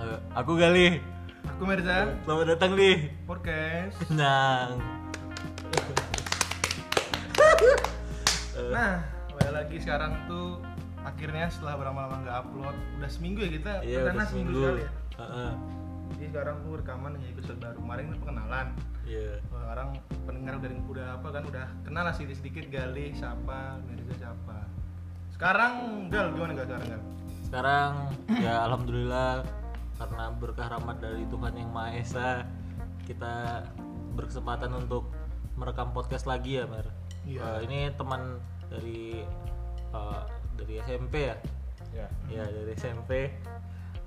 Eh, Aku Galih. Aku Mirza, Selamat datang di podcast. Eh. Nang. Nah, balik lagi sekarang tuh akhirnya setelah berapa lama nggak upload, udah seminggu ya kita, Iya karena udah seminggu. sekali ya. Heeh. Jadi sekarang tuh rekaman dengan episode baru. Kemarin tuh perkenalan. Iya. Sekarang pendengar udah udah apa kan udah kenal lah sedikit sedikit Galih siapa, Mirza siapa. Sekarang Gal gimana Gal sekarang Gal? Sekarang ya alhamdulillah karena berkah rahmat dari Tuhan yang Maha Esa kita berkesempatan untuk merekam podcast lagi ya, Mer. Iya. Eh, ini teman dari eh, dari SMP ya. Ya. Ya, dari SMP.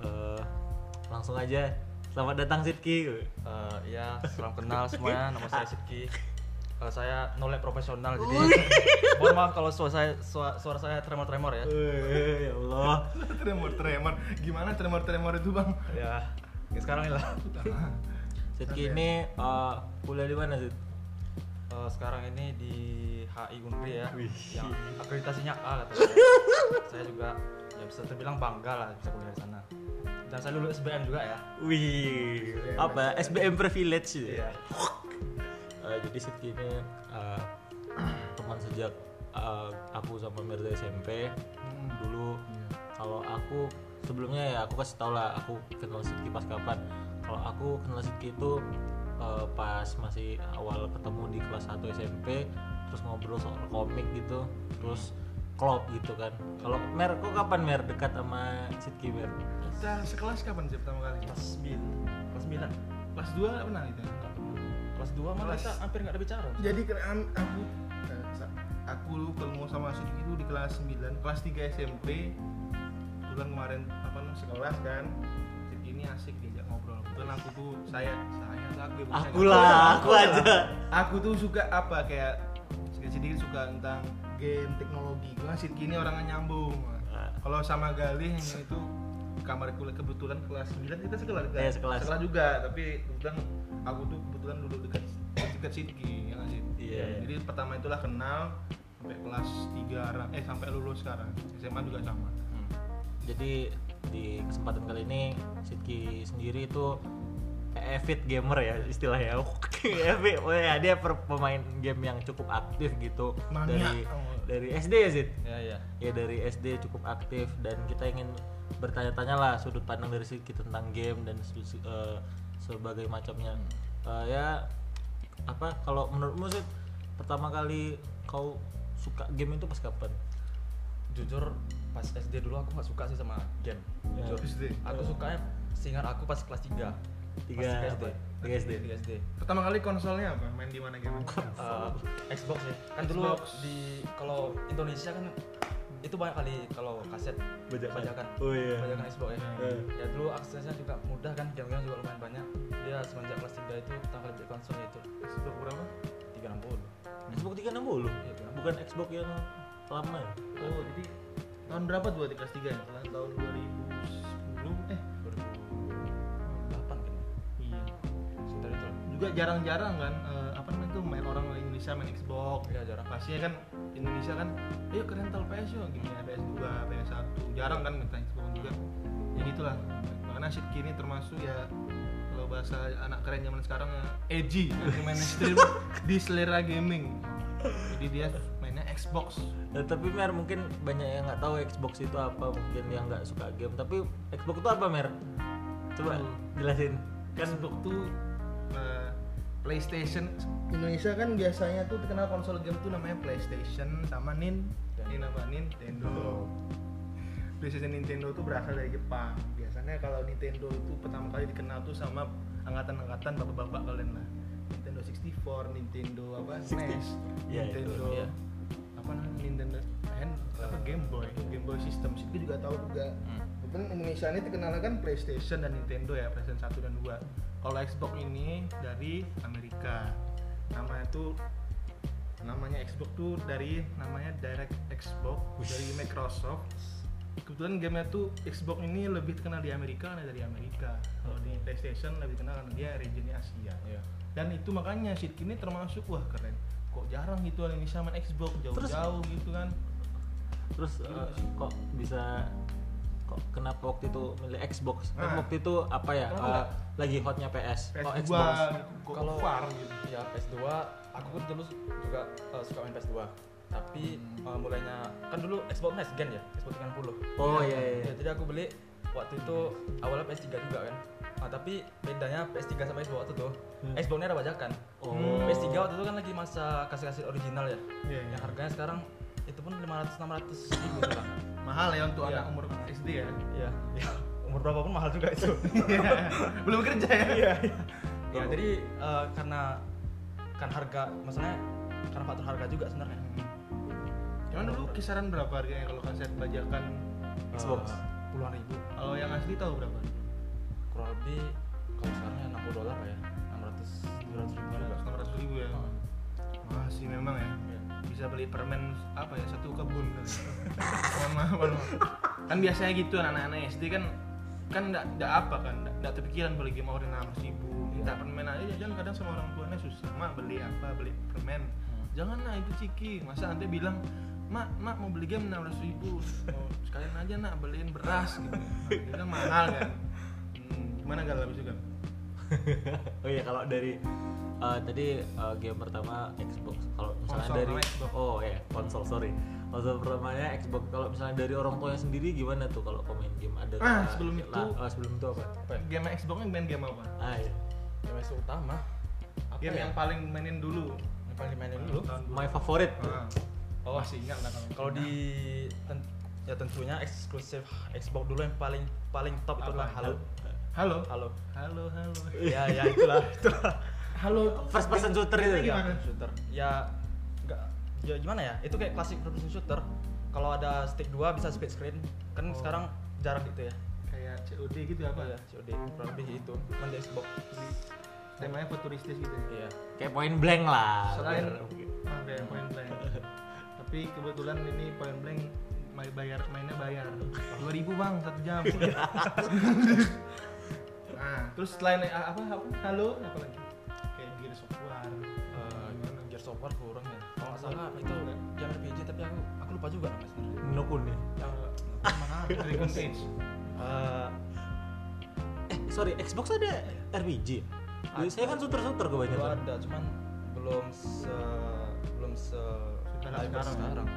Eh, langsung aja. Selamat datang Sidki. Eh, iya, ya, salam kenal semuanya. Nama saya Sidki. Eh, saya nolak profesional, jadi mohon maaf kalau suara saya suara, suara saya tremor-tremor ya. Eh, ya Allah. tremor tremor, gimana tremor tremor itu bang? Ya, kayak sekarang ini lah. Sidki ini eh, kuliah di mana, Sid? Eh, sekarang ini di HI Unri ya, yang akreditasinya A kata saya. saya juga ya bisa terbilang bangga lah bisa kuliah di sana. Dan saya lulus SBM juga ya. Wih, apa SBM privilege ya? Eh, jadi Sidki ini eh, teman sejak eh, aku sama Mirza SMP dulu kalau aku sebelumnya ya aku kasih tau lah aku kenal Sidki pas kapan kalau aku kenal Sidki itu eh, pas masih awal ketemu di kelas 1 SMP terus ngobrol soal komik gitu terus klop gitu kan kalau Mer kok kapan Mer dekat sama Sidki Mer Kita sekelas kapan sih pertama kali? Kelas 9. Kelas 9. Kelas 2 nggak pernah gitu. Kelas 2 malah Kelas- kita hampir nggak ada bicara. jadi keren aku eh, sa- aku ketemu sama Sidik itu di kelas 9 kelas 3 SMP bulan kemarin apa namanya sekelas kan Sidik ini asik diajak ngobrol kebetulan aku tuh saya saya tuh aku ya, bukan saya. akulah aku aja aku tuh suka apa kayak sedikit sedikit suka tentang game teknologi gue Sidik ini orangnya nyambung Ah. kalau sama Galih yang itu kamar kuliah kebetulan kelas 9 kita sekelas kan? Iya, sekelas. juga tapi kebetulan aku tuh kebetulan dulu dekat dekat Sidki ya nggak sih Iya. jadi pertama itulah kenal sampai kelas 3 orang- eh sampai lulus sekarang SMA juga sama Hmm. Jadi di kesempatan kali ini Sidki sendiri itu avid gamer ya istilahnya. Avid, oh ya, dia per- pemain game yang cukup aktif gitu Mania. dari Oh. dari SD ya Sid. Ya, ya. Ya dari SD cukup aktif dan kita ingin bertanya-tanya lah sudut pandang dari Sidki tentang game dan se- se- eh, sebagai macamnya. Eh, ya apa kalau menurutmu Sid pertama kali kau suka game itu pas kapan? jujur pas SD dulu aku nggak suka sih sama game Ya. jujur SD. aku sukanya seingat aku pas kelas 3 Tiga pas 3 SD apa? Tiga SD. 3 SD pertama kali konsolnya apa main di mana game Eh, Xbox ya kan dulu Xbox. di kalau Indonesia kan itu banyak kali kalau kaset Bajakan. bajakan Oh, iya. bajakan Xbox ya Eh. ya dulu aksesnya juga mudah kan game-game juga lumayan banyak ya semenjak kelas 3 itu pertama kali beli konsol itu Xbox berapa 360 Xbox 360 Iya, benar. bukan Xbox yang lama ya? oh jadi tahun berapa tuh di kelas 3 ya Setelah tahun 2010 eh 2008 kan iya sekitar itu lah. juga jarang-jarang kan eh, apa namanya tuh main orang Indonesia main Xbox ya jarang pastinya kan Indonesia kan ayo ke rental PS yuk gini ada PS2, PS1 jarang kan minta Xbox juga ya gitulah karena shit kini termasuk ya kalau bahasa anak keren zaman sekarang ya edgy yang mainstream di selera gaming jadi dia mainnya Xbox Eh, tapi Mer mungkin banyak yang nggak tahu Xbox itu apa mungkin yang nggak suka game tapi Xbox itu apa Mer coba Hmm. jelasin kan Xbox tuh eh, PlayStation Indonesia kan biasanya tuh terkenal konsol game tuh namanya PlayStation sama Nin Nin apa Nintendo PlayStation Nintendo tuh berasal dari Jepang biasanya kalau Nintendo itu pertama kali dikenal tuh sama angkatan-angkatan bapak-bapak kalian lah Nintendo 64 Nintendo apa NES Iya, itu, Nintendo iya. apa namanya Nintendo hand apa Game Boy Game Boy system sih gue juga tahu juga Hmm. kebetulan Indonesia ini terkenalnya kan PlayStation dan Nintendo ya PlayStation 1 dan 2 kalau Xbox ini dari Amerika namanya tuh namanya Xbox tuh dari namanya Direct Xbox dari Microsoft kebetulan gamenya tuh Xbox ini lebih terkenal di Amerika karena dari Amerika kalau di PlayStation lebih terkenal karena dia regionnya Asia Iya. dan itu makanya Shit ini termasuk wah keren kok jarang gitu orang Indonesia main Xbox jauh-jauh gitu kan terus eh, kok bisa kok kenapa waktu itu milih Xbox kan Nah. waktu itu apa ya Ah. Kenapa eh, nggak? lagi hotnya PS, PS2 oh Xbox kalau Kalau- far gitu ya PS2 aku kan dulu juga eh, suka main PS2 tapi eh, mulainya kan dulu Xbox Next Gen ya Xbox 360 oh iya iya, ya, iya. jadi aku beli waktu itu awalnya PS3 juga kan nah, tapi bedanya PS3 sama Xbox waktu itu Hmm. Xbox nya ada bajakan oh PS3 waktu itu kan lagi masa kasih-kasih original ya Iya, iya. yang harganya sekarang itu pun 500 600 ribu sekarang mahal ya untuk Iya. anak umur SD ya iya ya, umur berapa pun mahal juga itu belum kerja ya iya ya jadi eh, karena kan harga maksudnya karena faktor harga juga sebenarnya Cuman dulu kisaran berapa harganya kalau kaset bajakan? Xbox. Eh, puluhan ribu Kalau yang asli tahu berapa? kurang lebih kalau sekarang ya 60 dolar lah ya 600 700 ribu lah 600 ribu ya. Wah sih memang ya. Bisa beli permen apa ya satu kebun. Mohon maaf, mohon maaf. Kan biasanya gitu anak-anak SD kan kan nggak nggak apa kan nggak- nggak terpikiran beli game over 600 ribu minta permen aja jajan kadang sama orang tuanya susah mak beli apa beli permen jangan lah itu ciki masa nanti bilang mak mak mau beli game 600 ribu mau sekalian aja nak beliin beras gitu Dia bilang mahal kan hmm, gimana gak habis juga oh iya kalau dari eh, tadi eh, game pertama Xbox kalau misalnya Konsol dari pertama Xbox. oh ya konsol sorry konsol pertamanya Xbox kalau misalnya dari orang tuanya sendiri gimana tuh kalau pemain game ada eh, Ah, sebelum lah- itu- ah, sebelum itu apa game Xbox yang main game apa ah iya. yang masuk utama apa game ya? yang paling mainin dulu yang paling dimainin dulu tahun my favorit Ah, oh masih ingat lah kalau kalau di ten- ya tentunya eksklusif Xbox dulu yang paling paling top itu Apa? adalah Halo halo Halo halo halo ya ya itulah itulah halo first person shooter itu Iya. ya? Gimana? shooter ya nggak ya gimana ya itu kayak klasik first person shooter kalau ada stick 2 bisa split screen kan Oh. sekarang jarang gitu ya kayak COD gitu apa apa ya ya COD kurang lebih itu cuman di Xbox temanya futuristis gitu ya iya kayak point blank lah Selain- Biar- Ah, kayak point blank tapi kebetulan ini point blank may- bayar mainnya bayar 2000 bang satu jam nah terus selain eh, apa apa halo apa lagi kayak Gears of War Eh, gimana? Gears of War kurang ya kalau nggak salah itu yang RPG tapi aku aku lupa juga namanya sebenarnya Nino Kuni. yang mana Dragon Age Eh, eh sorry Xbox ada RPG Ada. ya? saya kan shooter shooter dulu kebanyakan ada cuman belum se belum se Sekarang- diverse sekarang ya? sekarang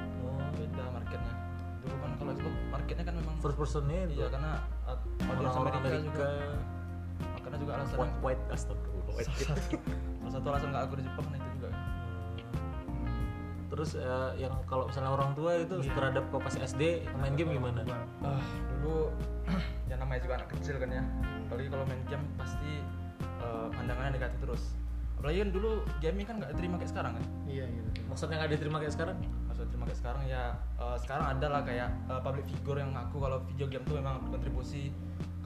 beda marketnya dulu kan kalau Xbox marketnya kan memang first personnya itu iya kan? karena uh, audiens orang-orang Amerika, Amerika, juga makanya juga alasan white white Oh, astagfirullah eh. white kid. salah satu alasan nggak aku di Jepang karena itu juga Terus eh, yang kalau misalnya orang tua itu Iya. terhadap kau pas SD main game gimana? Ah, dulu ya namanya juga anak kecil kan ya apalagi kalau main game pasti eh, pandangannya negatif terus apalagi kan dulu gaming kan nggak terima kayak sekarang kan iya iya betul. Maksudnya nggak diterima kayak sekarang? maksudnya terima kayak sekarang ya eh, sekarang ada lah kayak eh, public figure yang ngaku kalau video game tuh memang berkontribusi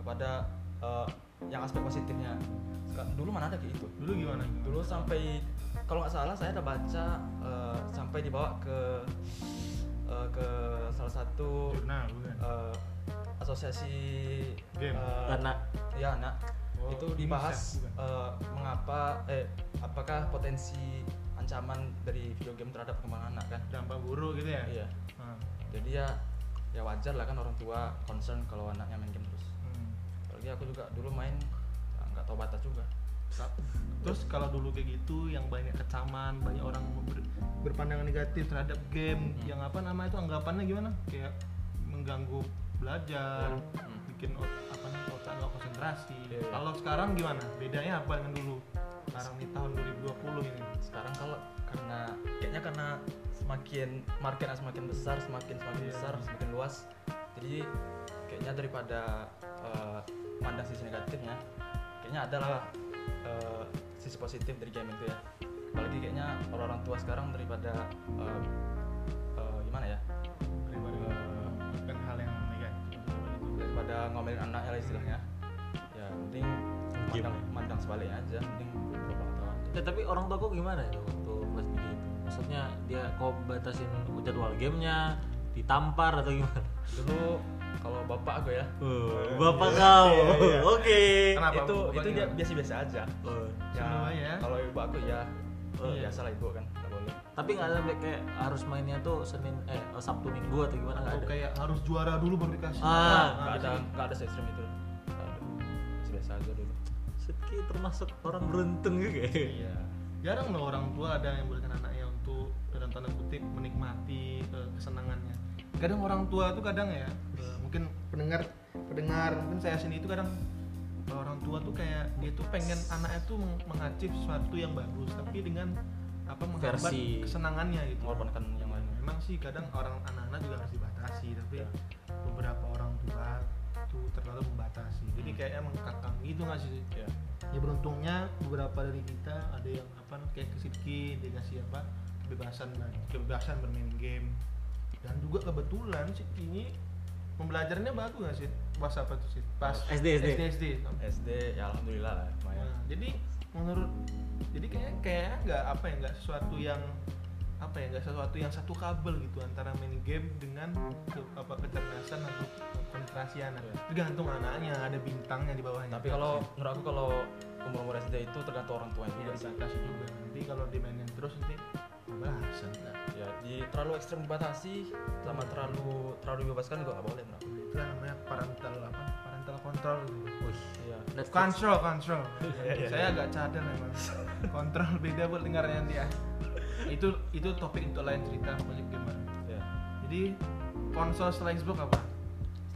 kepada eh, yang aspek positifnya Seka- dulu mana ada kayak gitu dulu gimana dulu sampai kalau nggak salah saya ada baca eh, sampai dibawa ke eh, ke salah satu jurnal Nah, bukan eh, asosiasi Game. eh, Karena ya anak Oh, itu UNICEF dibahas bukan? eh, mengapa eh apakah potensi ancaman dari video game terhadap perkembangan anak kan dampak buruk gitu ya iya Ah, jadi ya ya wajar lah kan orang tua concern kalau anaknya main game terus hmm. apalagi aku juga dulu main ah, nggak tahu batas juga Terus kalau dulu kayak gitu yang banyak kecaman, banyak orang ber- berpandangan negatif terhadap game Hmm. yang apa nama itu anggapannya gimana? Kayak mengganggu belajar, Hmm. bikin ot- apa namanya, otak nggak konsentrasi. Iya, iya. Kalau sekarang gimana? Bedanya apa dengan dulu? Sekarang di tahun 2020 ini. sekarang kalau karena kayaknya karena semakin marketnya semakin besar semakin semakin Iya. besar semakin luas jadi kayaknya daripada eh, mandang sisi negatifnya kayaknya adalah eh, sisi positif dari game itu ya apalagi kayaknya orang-orang tua sekarang daripada eh, eh, gimana ya Eh, Bukan hal yang negatif. daripada ngomelin anaknya lah istilahnya ya mending Game. mandang, mandang sebaliknya aja mending berubah tahun aja Ya, tapi orang tua kau gimana itu waktu pas di itu? Maksudnya dia kau batasin jadwal gamenya, ditampar atau gimana? dulu kalau bapak gue ya bapak kau, oke. Kenapa? itu Bapak itu dia gimana? biasa-biasa aja iya. Oh, Semua ya. kalau ibu aku ya Oh. biasa lah ibu kan Nggak boleh Tapi nggak sampai kayak harus mainnya tuh Senin eh Sabtu Minggu atau gimana nggak atau ada. kayak harus juara dulu baru dikasih Nah, Ah, nggak gitu. ada nggak ada ekstrem itu nggak ada Masih biasa aja dulu Sidki termasuk orang beruntung juga. ya. Iya. Jarang loh orang tua ada yang bolehkan anaknya untuk dalam tanda kutip menikmati eh, kesenangannya. Kadang orang tua tuh kadang ya, eh, mungkin pendengar pendengar mungkin saya sini itu kadang eh, orang tua tuh kayak dia tuh pengen anaknya tuh meng- mengacip sesuatu yang bagus tapi dengan apa menghambat Versi. kesenangannya gitu. mengorbankan yang Ya. lain Memang sih kadang orang anak-anak juga harus dibatasi tapi beberapa orang tua tuh terlalu membatasi. Jadi Hmm. kayaknya mengkakang gitu nggak sih? ya ya beruntungnya beberapa dari kita ada yang apa kayak kesidki dikasih apa kebebasan main- kebebasan bermain game dan juga kebetulan sih ini pembelajarannya bagus nggak sih pas apa tuh sih pas Oh, SD, SD. SD, SD. SD ya alhamdulillah lah lumayan Nah, jadi menurut jadi kayaknya kayaknya nggak apa ya nggak sesuatu yang apa ya nggak sesuatu yang satu kabel gitu antara main game dengan ke- apa kecerdasan atau konsentrasi anak Iya. tergantung anaknya ada bintangnya di bawahnya tapi kalau menurut aku kalau umur umur SD itu tergantung orang tuanya Iya, juga sih dibatasi juga nanti kalau dimainin terus nanti kebelasan lah ya di terlalu ekstrem dibatasi sama terlalu terlalu dibebaskan juga nggak boleh menurut aku itu yang namanya parental apa parental control gitu Wih, iya Netflix. control control Iya, iya, saya agak cadel memang kontrol beda buat dengarnya dia itu itu topik untuk lain cerita Project Gamer iya jadi konsol setelah Xbox apa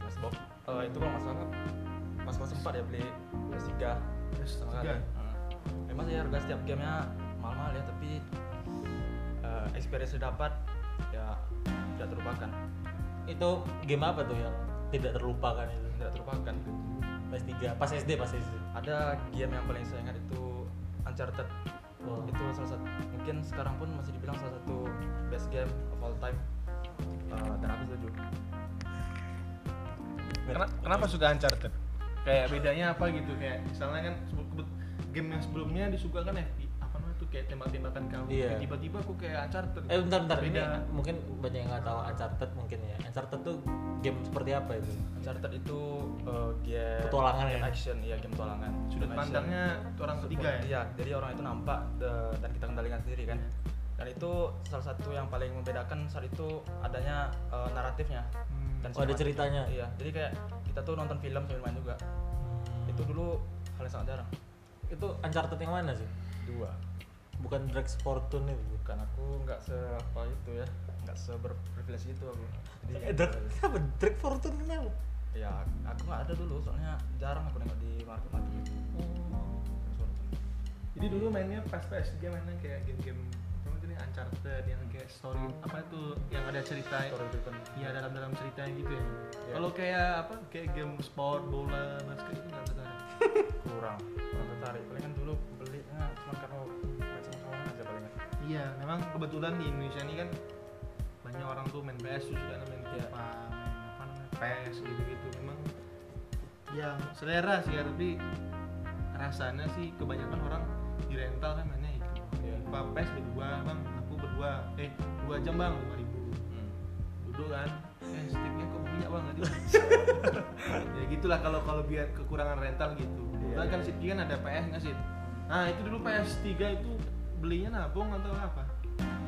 Xbox Eh, itu kalau masalah mas mas sempat ya beli PS3 sama PS3 kali Heeh. memang sih harga setiap gamenya mahal-mahal ya tapi eh, experience yang dapat ya tidak terlupakan Itu game apa tuh yang tidak terlupakan itu? tidak terlupakan Pas 3, pas SD, pas SD. ada game yang paling saya ingat itu Uncharted Wow. itu salah satu mungkin sekarang pun masih dibilang salah satu best game of all time Eh, dan aku setuju Kena- kenapa suka Uncharted kayak bedanya apa gitu kayak misalnya kan sebut- sebut- game yang sebelumnya disukakan ya apa namanya tuh kayak tembak-tembakan kamu Iya. Kayak tiba-tiba aku kayak Uncharted Eh bentar bentar ini beda mungkin banyak yang nggak tahu Uncharted mungkin ya. Uncharted tuh game seperti apa itu? Uncharted itu eh, game Petualangan ya? game action iya game petualangan sudut Game action. pandangnya orang ketiga ya Iya, jadi orang itu nampak eh, dan kita kendalikan sendiri kan. Dan itu salah satu yang paling membedakan saat itu adanya eh, naratifnya. Hmm. Dan Oh, ada sinematik. ceritanya? Iya, jadi kayak kita tuh nonton film sambil main juga. Itu dulu hal yang sangat jarang. Hmm. Itu Uncharted yang mana sih? Dua. Bukan Drax Fortune itu. Bukan aku nggak seapa itu ya, nggak seberprivilege itu aku. Jadi, Eh, Drax apa? Drax Fortune kenapa? ya aku nggak ada dulu soalnya jarang aku nengok di market market gitu. Jadi dulu mainnya pas PS3 mainnya kayak game-game apa itu nih Uncharted yang kayak story apa itu yang ada cerita Story driven. ya dalam dalam ceritanya gitu ya. Iya. Kalau kayak apa kayak game sport bola basket itu nggak tertarik. kurang kurang tertarik paling kan dulu belinya cuma karena main sama kawan aja kan. palingan Iya, memang kebetulan di Indonesia ini kan banyak orang tuh main PS terus juga main Iya. FIFA, main apa namanya PS gitu-gitu. Memang yang selera sih ya, tapi rasanya sih kebanyakan orang di rental kan mainnya itu. Iya. FIFA PS berdua, bang, aku berdua, eh dua jam bang, lima ribu. Hmm, Duduk kan, eh sticknya kok punya bang tadi. ya gitulah kalau kalau biar kekurangan rental gitu. Iya, Bahkan kan iya. Sidki kan ada PS nggak sih? Nah itu dulu PS 3 itu belinya nabung atau apa?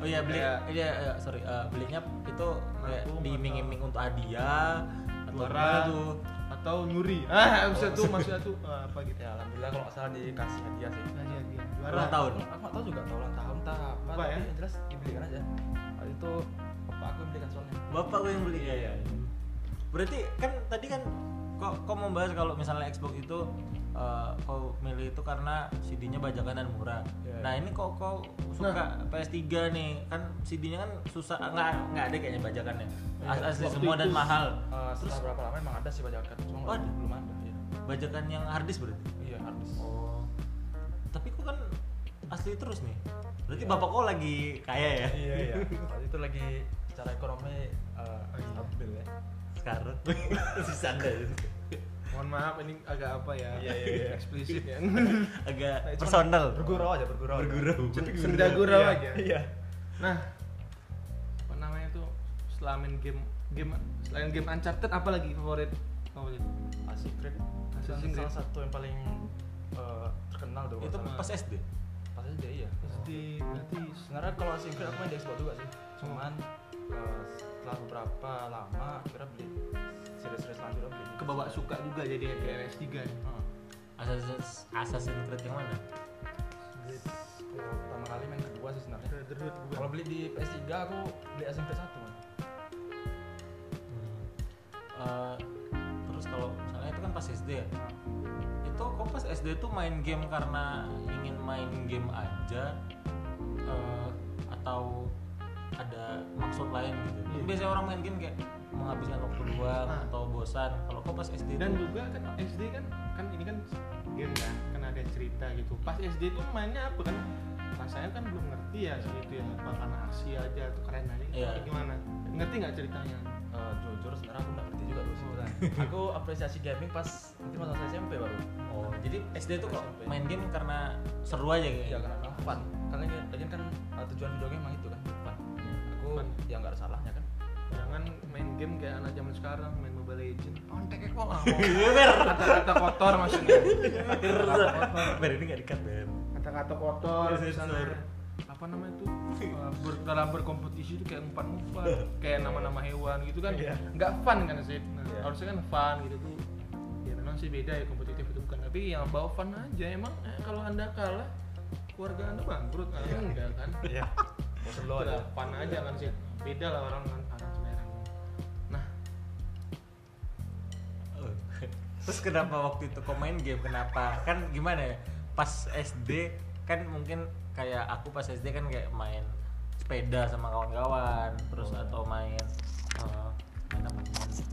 Oh iya beli Kayak- iya iya, sorry eh, belinya itu kayak Nabung diiming-iming untuk hadiah atau Juara. apa tuh. Atau nyuri? Ah maksudnya tuh maksudnya tuh ah, apa gitu? Oh. ya alhamdulillah kalau nggak salah dikasih hadiah sih Nah, jadi juara. Ulang tahun. aku nggak tahu juga tahu ulang tahun tak apa, Apa tapi ya? yang jelas dibelikan aja waktu itu bapak aku yang belikan soalnya Bapak gue yang beli ya. Berarti kan tadi kan kok kok membahas kalau misalnya Xbox itu eh, kau milih itu karena CD-nya bajakan dan murah. Iya. Nah ini kok kau suka PS3 nih kan CD-nya kan susah nggak nggak ada kayaknya bajakannya As- asli Waktu semua dan itu- mahal. Eh, setelah berapa lama emang ada sih bajakan cuma nggak- Waduh. belum ada iya Bajakan yang harddisk berarti. iya harus Oh. Tapi kok kan asli terus nih. Berarti bapak kau lagi kaya ya? iya iya waktu itu lagi secara ekonomi eh, stabil ya sekarang sisa anda itu. Mohon maaf ini agak apa ya? Iya, iya, iya. Eksplisit ya. agak cuman personal bergurau aja bergurau aja. bergurau Sen- Senda gurau Iya, aja. iya Nah, apa namanya tuh setelah main game game selain game Uncharted apa lagi favorit favorit? Assassin's Creed Assassin's salah Creed. satu yang paling eh, terkenal dulu itu pas SD pas pas SD iya SD berarti sebenarnya kalau masih aku main di Xbox juga sih cuman eh, setelah beberapa lama akhirnya beli series-series lanjut beli ke bawah suka juga ya? jadi RS 3 Hmm. Assassin's Assassin's Creed yang mana? Kalau pertama kali main kedua sih sebenarnya Brotherhood kalau beli di PS3 aku beli Assassin's Creed 1 man. Hmm. Eh, terus kalau misalnya itu kan pas SD ya. Nah, Itu kok pas SD tuh main game karena ingin main game aja eh, atau ada maksud lain gitu. Iya. Biasanya orang main game kayak menghabiskan waktu luang Nah. atau bosan. Kalau kok pas SD dan tuh juga kan SD kan kan ini kan game kan kan ada cerita gitu pas SD tuh mainnya apa kan rasanya kan belum ngerti ya sih itu ya apa karena Asia aja tuh keren aja gitu. Iya. Tapi gimana ngerti nggak ceritanya eh, jujur sebenarnya aku nggak ngerti juga dulu sebenarnya aku apresiasi gaming pas mungkin masa SMP baru Oh, jadi SD tuh kok SMP. main game karena seru aja kayaknya. iya karena memang fun karena ini- lagian kan eh, tujuan video game emang itu kan fun aku Fun. ya nggak ada salahnya kan jangan main game kayak anak zaman sekarang main Mobile Legend kontek Oh, kok nggak kata-kata kotor maksudnya Ber ini gak dikat Ber. kata-kata kotor Iya, misalnya sensor. apa namanya tuh uh, ber, dalam berkompetisi itu kayak umpan umpan kayak nama-nama hewan gitu kan Iya. nggak fun kan sih nah, Iya. harusnya kan fun gitu tuh ya memang sih beda ya kompetitif itu bukan tapi yang bawa fun aja emang eh, kalau anda kalah keluarga anda bangkrut kan Iya. enggak kan ya bosan lo Udah ada fun aja kan sih beda lah orang kan orang selera nah Oh. Terus kenapa waktu itu kok main game? Kenapa? Kan gimana ya? Pas SD kan mungkin kayak aku pas SD kan kayak main sepeda sama kawan-kawan, terus Oh. atau main eh, main apa?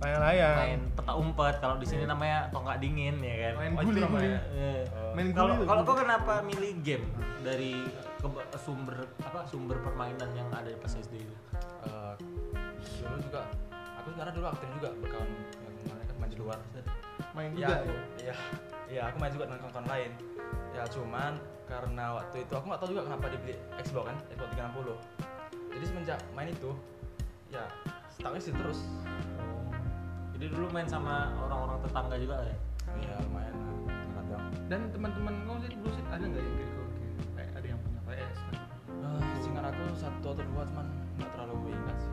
layang-layang Main peta umpet. Kalau di sini namanya tonggak dingin ya kan. Iya. main Oh, itu guli guli namanya. Eh, Main Kalau guli. kalau kok kenapa milih game dari ke- sumber apa sumber permainan yang ada di pas SD itu? Eh, dulu juga aku sebenarnya dulu aktif juga berkawan ya, kemarin kan main di luar main ya juga aku, ya. ya ya aku main juga dengan kawan-kawan lain ya cuman karena waktu itu aku nggak tahu juga kenapa dibeli Xbox kan Xbox 360 jadi semenjak main itu ya stucknya sih terus Jadi dulu main sama orang-orang tetangga juga lah ya. ya lumayan lah, kadang dan teman-teman kau sih dulu sih ada nggak yang kayak kau kayak ada yang punya kan? PS Eh, seingat aku satu atau dua cuman nggak terlalu ingat sih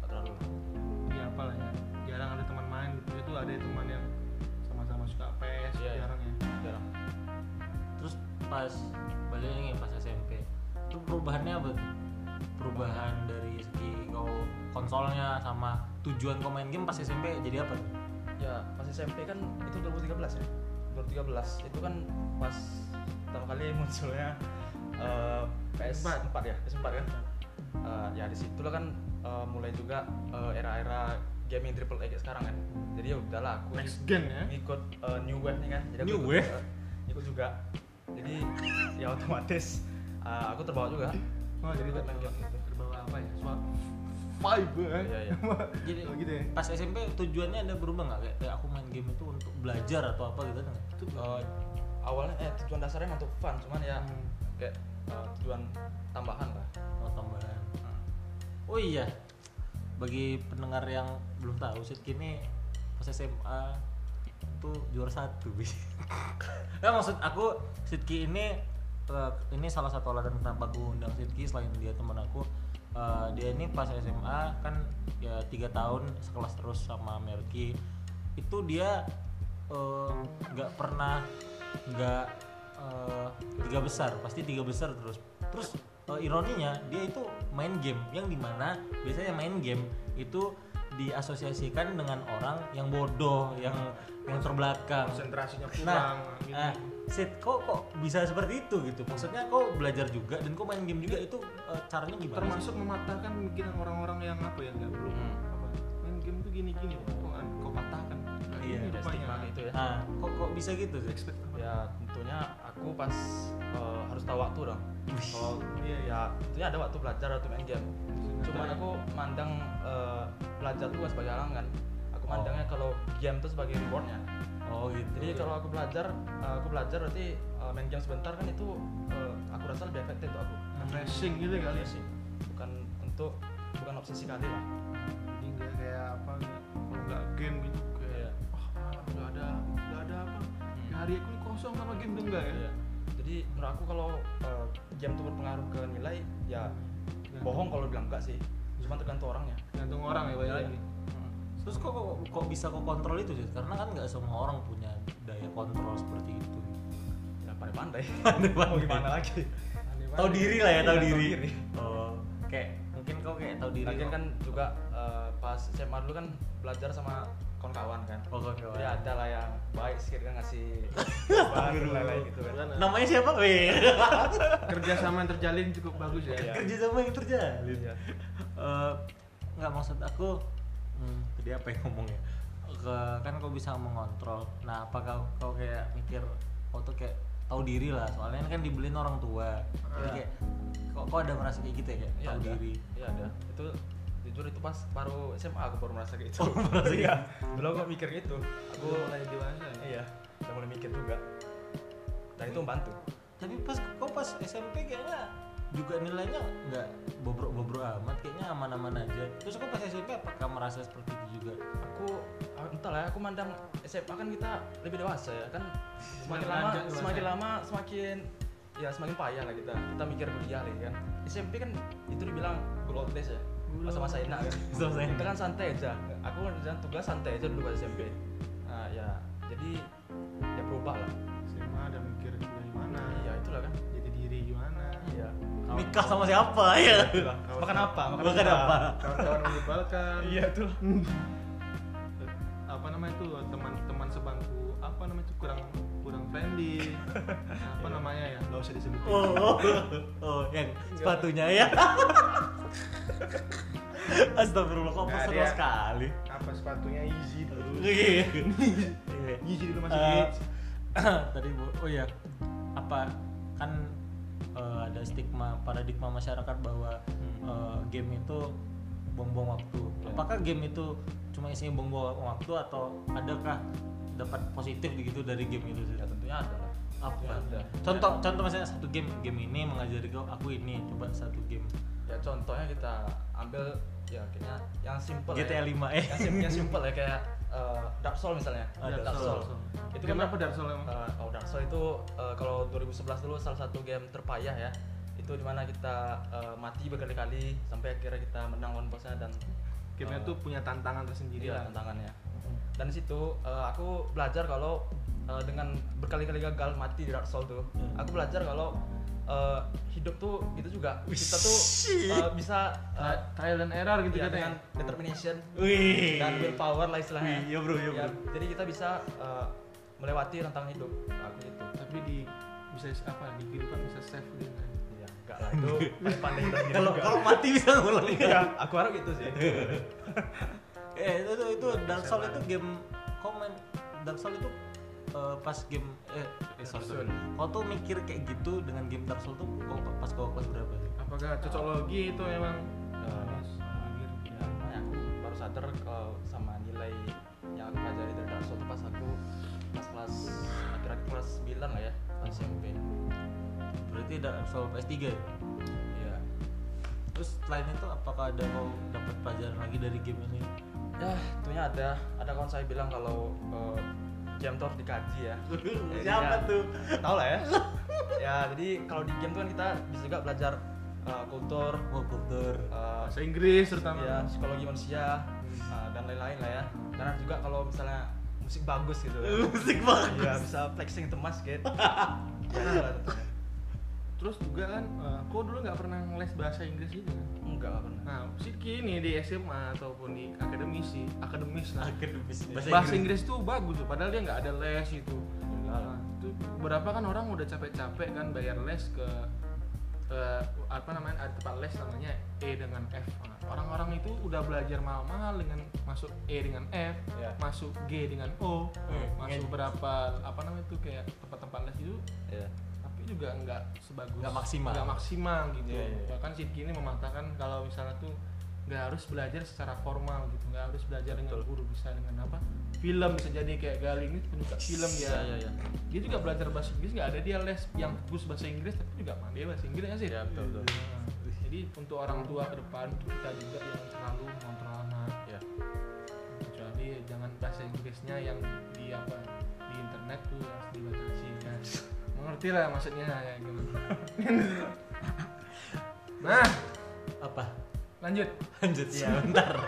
nggak terlalu ya apalah ya jarang ada teman main gitu itu ada teman yang sama-sama suka PS Iya, iya. jarang ya jarang terus pas balik lagi pas SMP itu perubahannya apa tuh? perubahan dari segi kau konsolnya sama tujuan kau main game pas SMP jadi apa tuh? ya pas SMP kan itu 2013 ya 2013 itu kan pas pertama kali munculnya eh, PS4 ya PS4 kan Eh, ya di situlah kan eh, mulai juga eh, era-era gaming triple A kayak sekarang kan jadi ya udahlah aku next gen ya ngikut eh, new wave nih kan jadi aku New ikut, wave? eh, ikut juga jadi ya otomatis eh, aku terbawa juga oh jadi Ikut main terbawa, game gitu. terbawa apa ya soal vibe ya Iya, iya. jadi Oh, gitu ya pas SMP tujuannya ada berubah nggak kayak, kayak aku main game itu untuk belajar atau apa gitu kan itu Eh, awalnya eh tujuan dasarnya emang untuk fun cuman ya Hmm. kayak eh, tujuan tambahan lah oh tambahan oh iya bagi pendengar yang belum tahu sih kini pas SMA itu juara satu bis ya maksud aku Sidki ini eh, ini salah satu alasan kenapa aku undang Sidki selain dia teman aku Eh, dia ini pas SMA kan ya tiga tahun sekelas terus sama Merki itu dia eh, nggak pernah nggak eh, tiga besar pasti tiga besar terus terus eh, ironinya dia itu main game yang dimana biasanya main game itu diasosiasikan dengan orang yang bodoh yang yang terbelakang konsentrasinya kurang Nah, gitu. nah Sid, kok kok bisa seperti itu gitu? Maksudnya kok belajar juga dan kok main game juga itu eh, caranya gimana? sih? Iya. termasuk mematahkan pemikiran orang-orang yang apa ya nggak belum Hmm. apa main game tuh gini-gini kok kau patahkan Nah, Iya, ini ada stigma rupanya. gitu ya Nah, kok kok bisa gitu sih? expect apa? ya tentunya aku pas eh, harus tahu waktu dong kalau Iya, iya. ya tentunya ada waktu belajar waktu main game cuman aku mandang eh, belajar tuh bukan sebagai halangan aku Oh. mandangnya kalau game tuh sebagai rewardnya Oh gitu. Iya, jadi kalau aku belajar eh, aku belajar berarti eh, main game sebentar kan itu eh, aku rasa lebih efektif untuk aku refreshing gitu kali Iya sih bukan untuk bukan obsesi kali lah Ini nggak kayak apa kalau nggak game gitu Iya. Hmm. kayak wah nggak ada nggak ada apa hari aku ini kosong sama game tuh enggak ya Iya. jadi jadi menurut aku kalau eh, game itu berpengaruh ke nilai ya Tergantung. bohong kalau bilang enggak sih cuma tergantung orangnya Gantung orang ya balik Iya. lagi. Mm. Terus kok kok, kok bisa kok kontrol itu Jud? Karena kan nggak semua orang punya daya kontrol seperti itu. ya pandai-pandai Pandai-pandai. mau gimana lagi Aneh Tahu banget. diri lah ya, tahu Iya, tahu diri. diri. Oh, kayak mungkin kau kayak tahu diri. Lagian kok. kan juga eh, pas SMA dulu kan belajar sama kawan-kawan kan Oh, kawan jadi ada lah yang baik sedikit kan ngasih Baru bahan lah, lain gitu kan Bukan, ah. Namanya siapa? Weh. Kerjasama yang terjalin cukup bagus ya. Iya. Kerja sama yang terjalin. Iya. Eh, nggak maksud aku hmm, tadi apa yang ngomongnya Ke- kan kau bisa mengontrol nah apa kau kau kayak mikir kau tuh kayak tahu diri lah soalnya kan dibeliin orang tua jadi Iya. kayak kok kok ada merasa kayak gitu ya kayak Iya tahu ada. diri Iya ada. Itu jujur itu pas baru SMA aku baru merasa kayak itu. Oh, merasa kayak Iya. Belum aku mikir gitu. Aku Aku mulai dewasa. ya. iya, udah mulai mikir juga. Dan itu membantu. tapi pas kau pas SMP kayaknya juga nilainya nggak bobrok-bobrok amat kayaknya aman-aman aja terus kau pas SMP apakah merasa seperti itu juga Aku ah, entahlah ya, aku mandang SMA kan kita lebih dewasa ya kan semakin Semakin lama lanjut dewasa. semakin lama semakin ya semakin payah lah kita kita mikir kuliah lagi kan SMP kan itu dibilang good old days ya Good masa-masa old enak kan Masa-masa enak. kita kan santai aja aku ngerjain tugas santai aja dulu pas SMP nah ya jadi ya berubah lah SMA ada mikir kuliah gimana, iya itulah kan jati diri gimana. Iya. nikah sama siapa ya Makan apa? Makan apa? Kawan-kawan menyebalkan. Iya itu lah. apa namanya itu teman-teman sebangku apa namanya itu kurang kurang friendly apa namanya ya nggak usah disebutin oh, oh, oh, yang sepatunya ya Astagfirullah kok Nggak pesen ada ya. sekali apa sepatunya easy dulu Iya. Iya. easy dulu masih Ah. Eh, hits. tadi Bu- oh ya apa kan eh, ada stigma paradigma masyarakat bahwa Hmm. eh, game itu buang-buang waktu Ya. apakah game itu cuma isinya buang-buang waktu atau adakah dapat positif begitu dari game itu Ya tentunya ada lah. Ya, apa Ada. contoh contoh misalnya satu game game ini mengajari kau aku ini coba satu game Ya contohnya kita ambil ya kayaknya yang simple. GTA ya. 5 eh Yang simple, yang simple ya kayak eh, Dark Souls misalnya. Ah, Dark Souls. Itu Game kan apa Dark Souls emang? Eh, oh Dark Souls itu eh, kalau 2011 dulu salah satu game terpayah ya. Itu dimana kita eh, mati berkali-kali sampai akhirnya kita menang lawan bosnya dan gamenya eh, tuh punya tantangan tersendiri Iya lah tantangannya. Dan di situ eh, aku belajar kalau eh, dengan berkali-kali gagal mati di Dark Souls tuh, Hmm. aku belajar kalau eh, hidup tuh itu juga kita tuh Shit. Nah, eh, bisa eh, Ah, trial and error gitu iya, kan dengan determination ya? Wih. dan willpower lah istilahnya. Wih, iya, bro, iya, Ya, bro. Jadi kita bisa eh, melewati tantangan hidup Nah, aku gitu. itu. tapi di bisa apa di kehidupan bisa save gitu kan Iya, enggak lah itu pandai kita Kalau juga. kalau mati bisa ngulang. Iya, aku harap gitu sih. eh itu itu, itu Dark Souls itu game komen Dark Souls itu eh, pas game eh, eh sorry, sorry. Kau tuh mikir kayak gitu dengan game Dark Souls tuh kau, pas kau kelas berapa sih? apakah Ah. cocokologi itu emang Eh, Ya, makanya aku baru sadar kalau sama nilai yang aku pelajari dari Dark Souls itu pas aku pas kelas akhir-akhir kelas 9 lah ya pas SMP Berarti Dark Souls PS3 ya? iya Terus selain itu apakah ada kau dapat pelajaran lagi dari game ini? ya tentunya ada ada kawan saya bilang kalau eh, game tuh harus dikaji ya Jadi ya, Siapa tuh? tau lah ya ya jadi kalau di game tuh kan kita bisa juga belajar eh, kultur Oh, kultur. eh, bahasa Inggris terutama ya psikologi manusia uh, dan lain-lain lah ya karena juga kalau misalnya musik bagus gitu ya. Musik bagus. Iya, bisa flexing itu mas gitu ya, itu lah tentunya. terus juga kan eh, kau dulu nggak pernah ngeles bahasa Inggris gitu kan enggak lah pernah Nah, Sidki ini di SMA ataupun di akademisi, akademis lah. Akademis Bahasa, Inggris. tuh bagus tuh, padahal dia nggak ada les itu. Nah, itu berapa kan orang udah capek-capek kan bayar les ke eh, apa namanya ada tempat les namanya E dengan F. Nah, Orang-orang itu udah belajar mahal-mahal dengan masuk E dengan F, Iya. masuk G dengan O, Eh, masuk nge- berapa apa namanya tuh kayak tempat-tempat les itu Iya. tapi juga nggak sebagus Nggak maksimal. nggak maksimal gitu Iya, iya, iya. bahkan Sidki ini mematahkan kalau misalnya tuh nggak harus belajar secara formal gitu nggak harus belajar dengan guru bisa dengan apa film bisa jadi kayak Gali ini penyuka film ya. dia Iya, iya, iya. dia juga belajar bahasa Inggris nggak ada dia les yang bagus bahasa Inggris tapi juga pandai bahasa Inggris ya sih Iya, betul, betul. Nah, jadi untuk orang tua ke depan kita juga jangan terlalu mengontrol anak Iya. kecuali jangan bahasa Inggrisnya yang di apa di internet tuh harus dibatasi kan. mengerti lah maksudnya ya gimana nah apa lanjut lanjut sebentar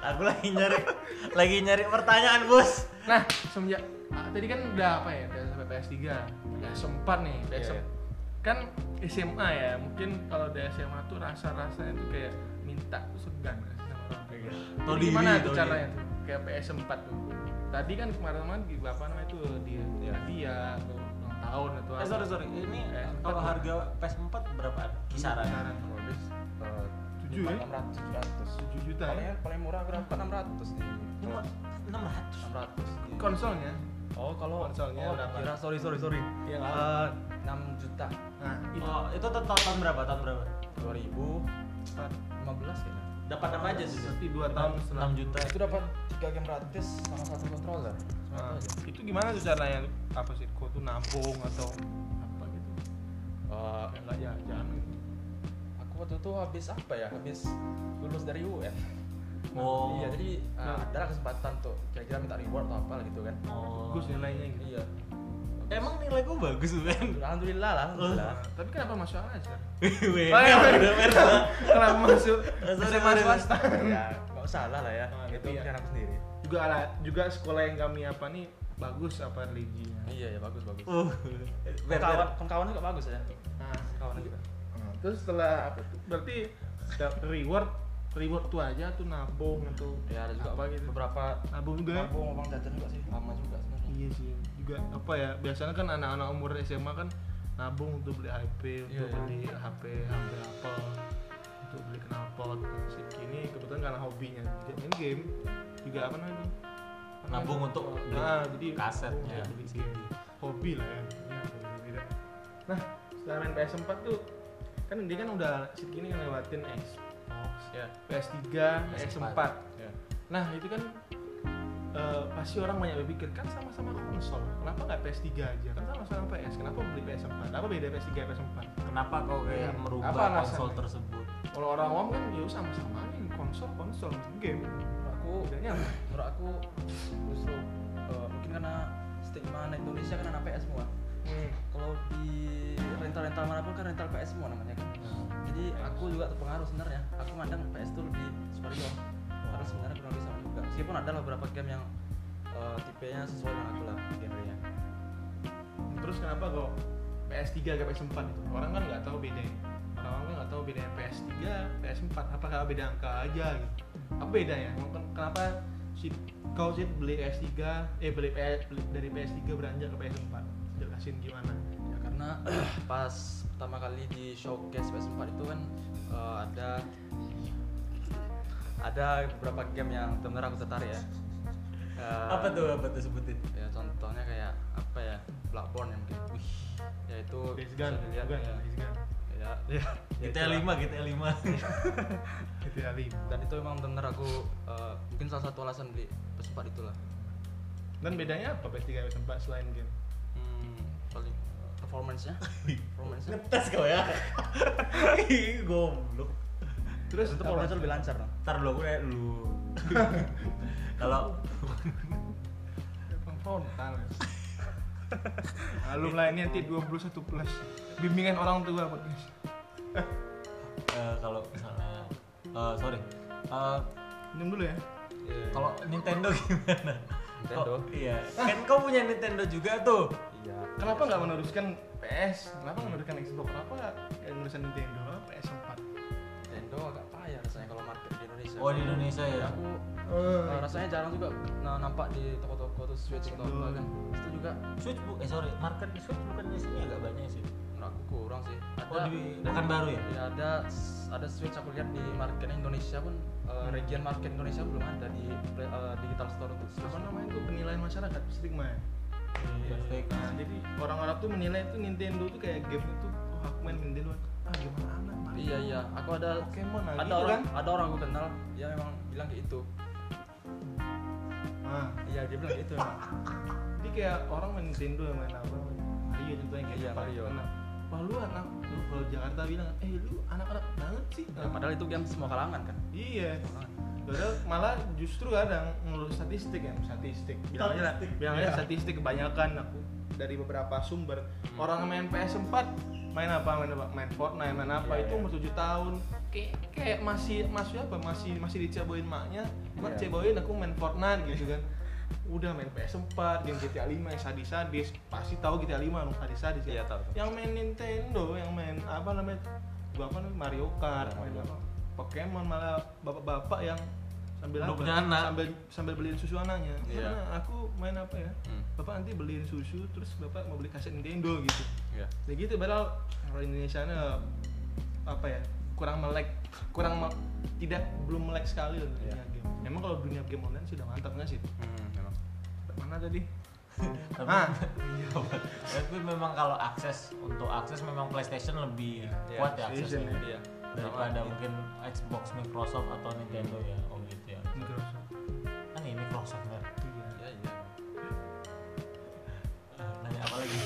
aku lagi nyari lagi nyari pertanyaan bos nah semenjak ah, tadi kan udah apa ya udah sampai PS 3 PS4 nih PS Iya, iya. kan SMA ya mungkin kalau dari SMA tuh rasa-rasanya tuh kayak minta segan sama orang tua gitu. Iya. Tahu Jadi diri, gimana tuh tahu caranya tuh kayak PS4 tuh tadi kan kemarin-kemarin di bapak namanya tuh di Iya. dia atau ulang tahun atau eh, apa. sorry sorry ini PS4 kalau harga PS4 berapa kisaran Kisaran. habis eh, Tujuh, ya? enam ratus tujuh ratus 7 juta paling Iya. ya paling murah berapa enam ratus cuma enam ratus enam ratus konsolnya oh kalau Konsolnya oh, berapa? kira sorry sorry sorry Iya, nggak enam juta nah itu oh itu tuh tahun berapa tahun berapa dua ribu empat lima belas kayaknya dapat apa aja sih berarti dua tahun setelah enam juta ya? itu dapat tiga game gratis sama satu controller Cuma Nah, itu aja. itu gimana tuh caranya apa sih kau tuh nampung atau apa gitu Eh, Kayak nggak ya jangan gitu. aku waktu itu habis apa ya habis lulus dari UN oh iya jadi eh, Nah. ada lah kesempatan tuh kira-kira minta reward atau apa gitu kan oh. bagus nilainya gitu iya emang nilai gue bagus kan alhamdulillah lah alhamdulillah Nah, tapi kenapa masuk aja Wih, Oh, iya, udah iya. merah. kenapa masuk Sorry, SMA sorry. swasta ya nggak salah lah ya Nah, itu tapi ya. pilihan aku sendiri juga ada juga sekolah yang kami apa nih bagus apa religinya iya ya bagus bagus Uh, ber- kawan ber- kawan Eh, juga bagus ya nah, kawan juga nah, terus setelah apa tuh berarti da- reward reward tuh aja tuh nabung atau ya ada juga apa gitu beberapa nabung juga ya? aku mau bang jajan juga sih lama juga sebenarnya Iya sih, juga apa ya? Biasanya kan anak-anak umur SMA kan nabung untuk beli HP, untuk Iya, iya. beli HP, HP apa, untuk beli knalpot. Sih kini kebetulan karena hobinya juga main game, juga apa namanya? tuh? Apa nabung namanya? untuk beli Nah, jadi nabung kasetnya untuk beli game. Hobi lah ya. Ya, beda-beda. Nah, setelah main PS4 tuh kan dia kan udah segini ngelewatin Oh, Xbox, ya PS3, PS4. ya Nah itu kan eh, pasti orang banyak berpikir kan sama-sama konsol, kenapa nggak PS3 aja? Kan sama-sama PS, kenapa beli PS4? Apa beda PS3 dan PS4? kenapa kau kayak Hmm. merubah Apa alasannya? konsol tersebut Kalau orang awam kan ya sama-sama aja konsol konsol game. aku Bedanya apa? menurut aku justru eh, mungkin karena stigma anak Indonesia kan anak PS semua kalau di rental-rental manapun kan rental PS semua namanya kan Hmm. jadi aku juga terpengaruh sebenarnya aku mandang PS itu lebih superior Hmm. karena sebenarnya kurang lebih sama juga meskipun ada beberapa game yang eh, tipenya sesuai dengan aku lah genrenya Terus kenapa kok PS3 ke PS4 itu? Orang kan nggak tahu bedanya. Orang-orang kan nggak tahu bedanya PS3, PS4. Apakah beda angka aja gitu? Apa bedanya? Ken- Kenapa si kau sih beli PS3, eh beli, PS, beli dari PS3 beranjak ke PS4? Jelasin gimana? ya karena pas pertama kali di showcase PS4 itu kan eh, ada ada beberapa game yang benar aku tertarik ya Eh, apa tuh apa tuh sebutin ya contohnya kayak apa ya Blackborn yang mungkin wih ya itu Oh, Days Gone, bisa dilihat bukan ya Days Gone. ya, ya, ya GTA itulah. 5 GTA 5 GTA lima. dan itu memang benar aku eh, mungkin salah satu alasan beli pespat itulah Dan bedanya apa PS3 PS4 selain game? hmm, paling performance nya performance nya ngetes kau ya Ih, goblok Terus itu apa? performance lebih lancar dong ntar dulu aku nanya dulu kalau Frontal. Alum Gitu. lainnya nanti 21 plus. Bimbingan orang tua podcast. eh, kalau misalnya eh, sorry Eh, Minum dulu ya. Iya. kalau Nintendo gimana Nintendo? Kok- iya kan kau punya Nintendo juga tuh iya Kenapa nggak meneruskan PS? Kenapa Hmm. nggak meneruskan Xbox? Kenapa nggak meneruskan Nintendo? Kenapa PS4? Nintendo agak payah rasanya kalau market di Indonesia oh di Indonesia Jadi ya aku eh, rasanya jarang juga nah, nampak di toko-toko tuh switch atau apa kan itu juga Switch bu eh sorry market di Switch bukan di sini agak banyak sih menurut aku kurang sih ada oh di bukan baru ya Ya, ada ada switch aku lihat di market Indonesia pun eh, region market Indonesia belum ada di pre- eh, digital store untuk switch. Apa namanya itu penilaian masyarakat stigma ya? Iya. Plastik. Nah, jadi orang Arab tuh menilai tuh Nintendo tuh kayak game itu oh, aku main Nintendo ah gimana anak Mario. Iya iya, aku ada Pokemon lah ada gitu orang kan? ada orang aku kenal dia memang bilang kayak gitu. itu. Nah, Iya dia bilang kayak itu memang. Jadi kayak orang main Nintendo yang main apa? Mario contohnya kayak Iya, Jepang. Mario. Nah, Wah lu anak, lu kalau Jakarta bilang, eh lu anak-anak banget sih. Ya, padahal itu game semua kalangan kan. Iya. Kalangan. Padahal malah justru kadang ngurus statistik ya, statistik. Bilang aja lah, Statistik. bilang aja Iya. statistik kebanyakan aku. dari beberapa sumber Hmm. orang main PS4 main apa main apa main Fortnite main apa Iya, itu iya. umur 7 tahun kayak kayak masih masih apa masih masih diceboin maknya mak Iya. ceboin aku main Fortnite gitu kan udah main PS4 game GTA 5 yang sadis-sadis pasti tahu GTA 5 dong sadis-sadis ya Iya, tahu, tahu. yang main Nintendo yang main apa namanya gua apa namanya Mario Kart Iya, main apa Mario. Pokemon malah bapak-bapak yang sambil Udah apa? punya anak. sambil sambil beliin susu anaknya Iya. Karena aku main apa ya Hmm. bapak nanti beliin susu terus bapak mau beli kaset Nintendo gitu Iya. ya gitu padahal orang Indonesia eh, apa ya kurang melek kurang me- tidak belum melek sekali loh dunia Iya. game emang kalau dunia game online sudah mantap nggak sih Hmm, memang. mana tadi tapi Ah. Iya, Pak. tapi memang kalau akses untuk akses memang PlayStation lebih Iya, kuat ya PlayStation, aksesnya Iya. daripada Sama, mungkin Xbox, Microsoft atau Nintendo ya oh gitu ya Microsoft kan ini Microsoft Mer. iya Iya, iya. Eh, nanya apa lagi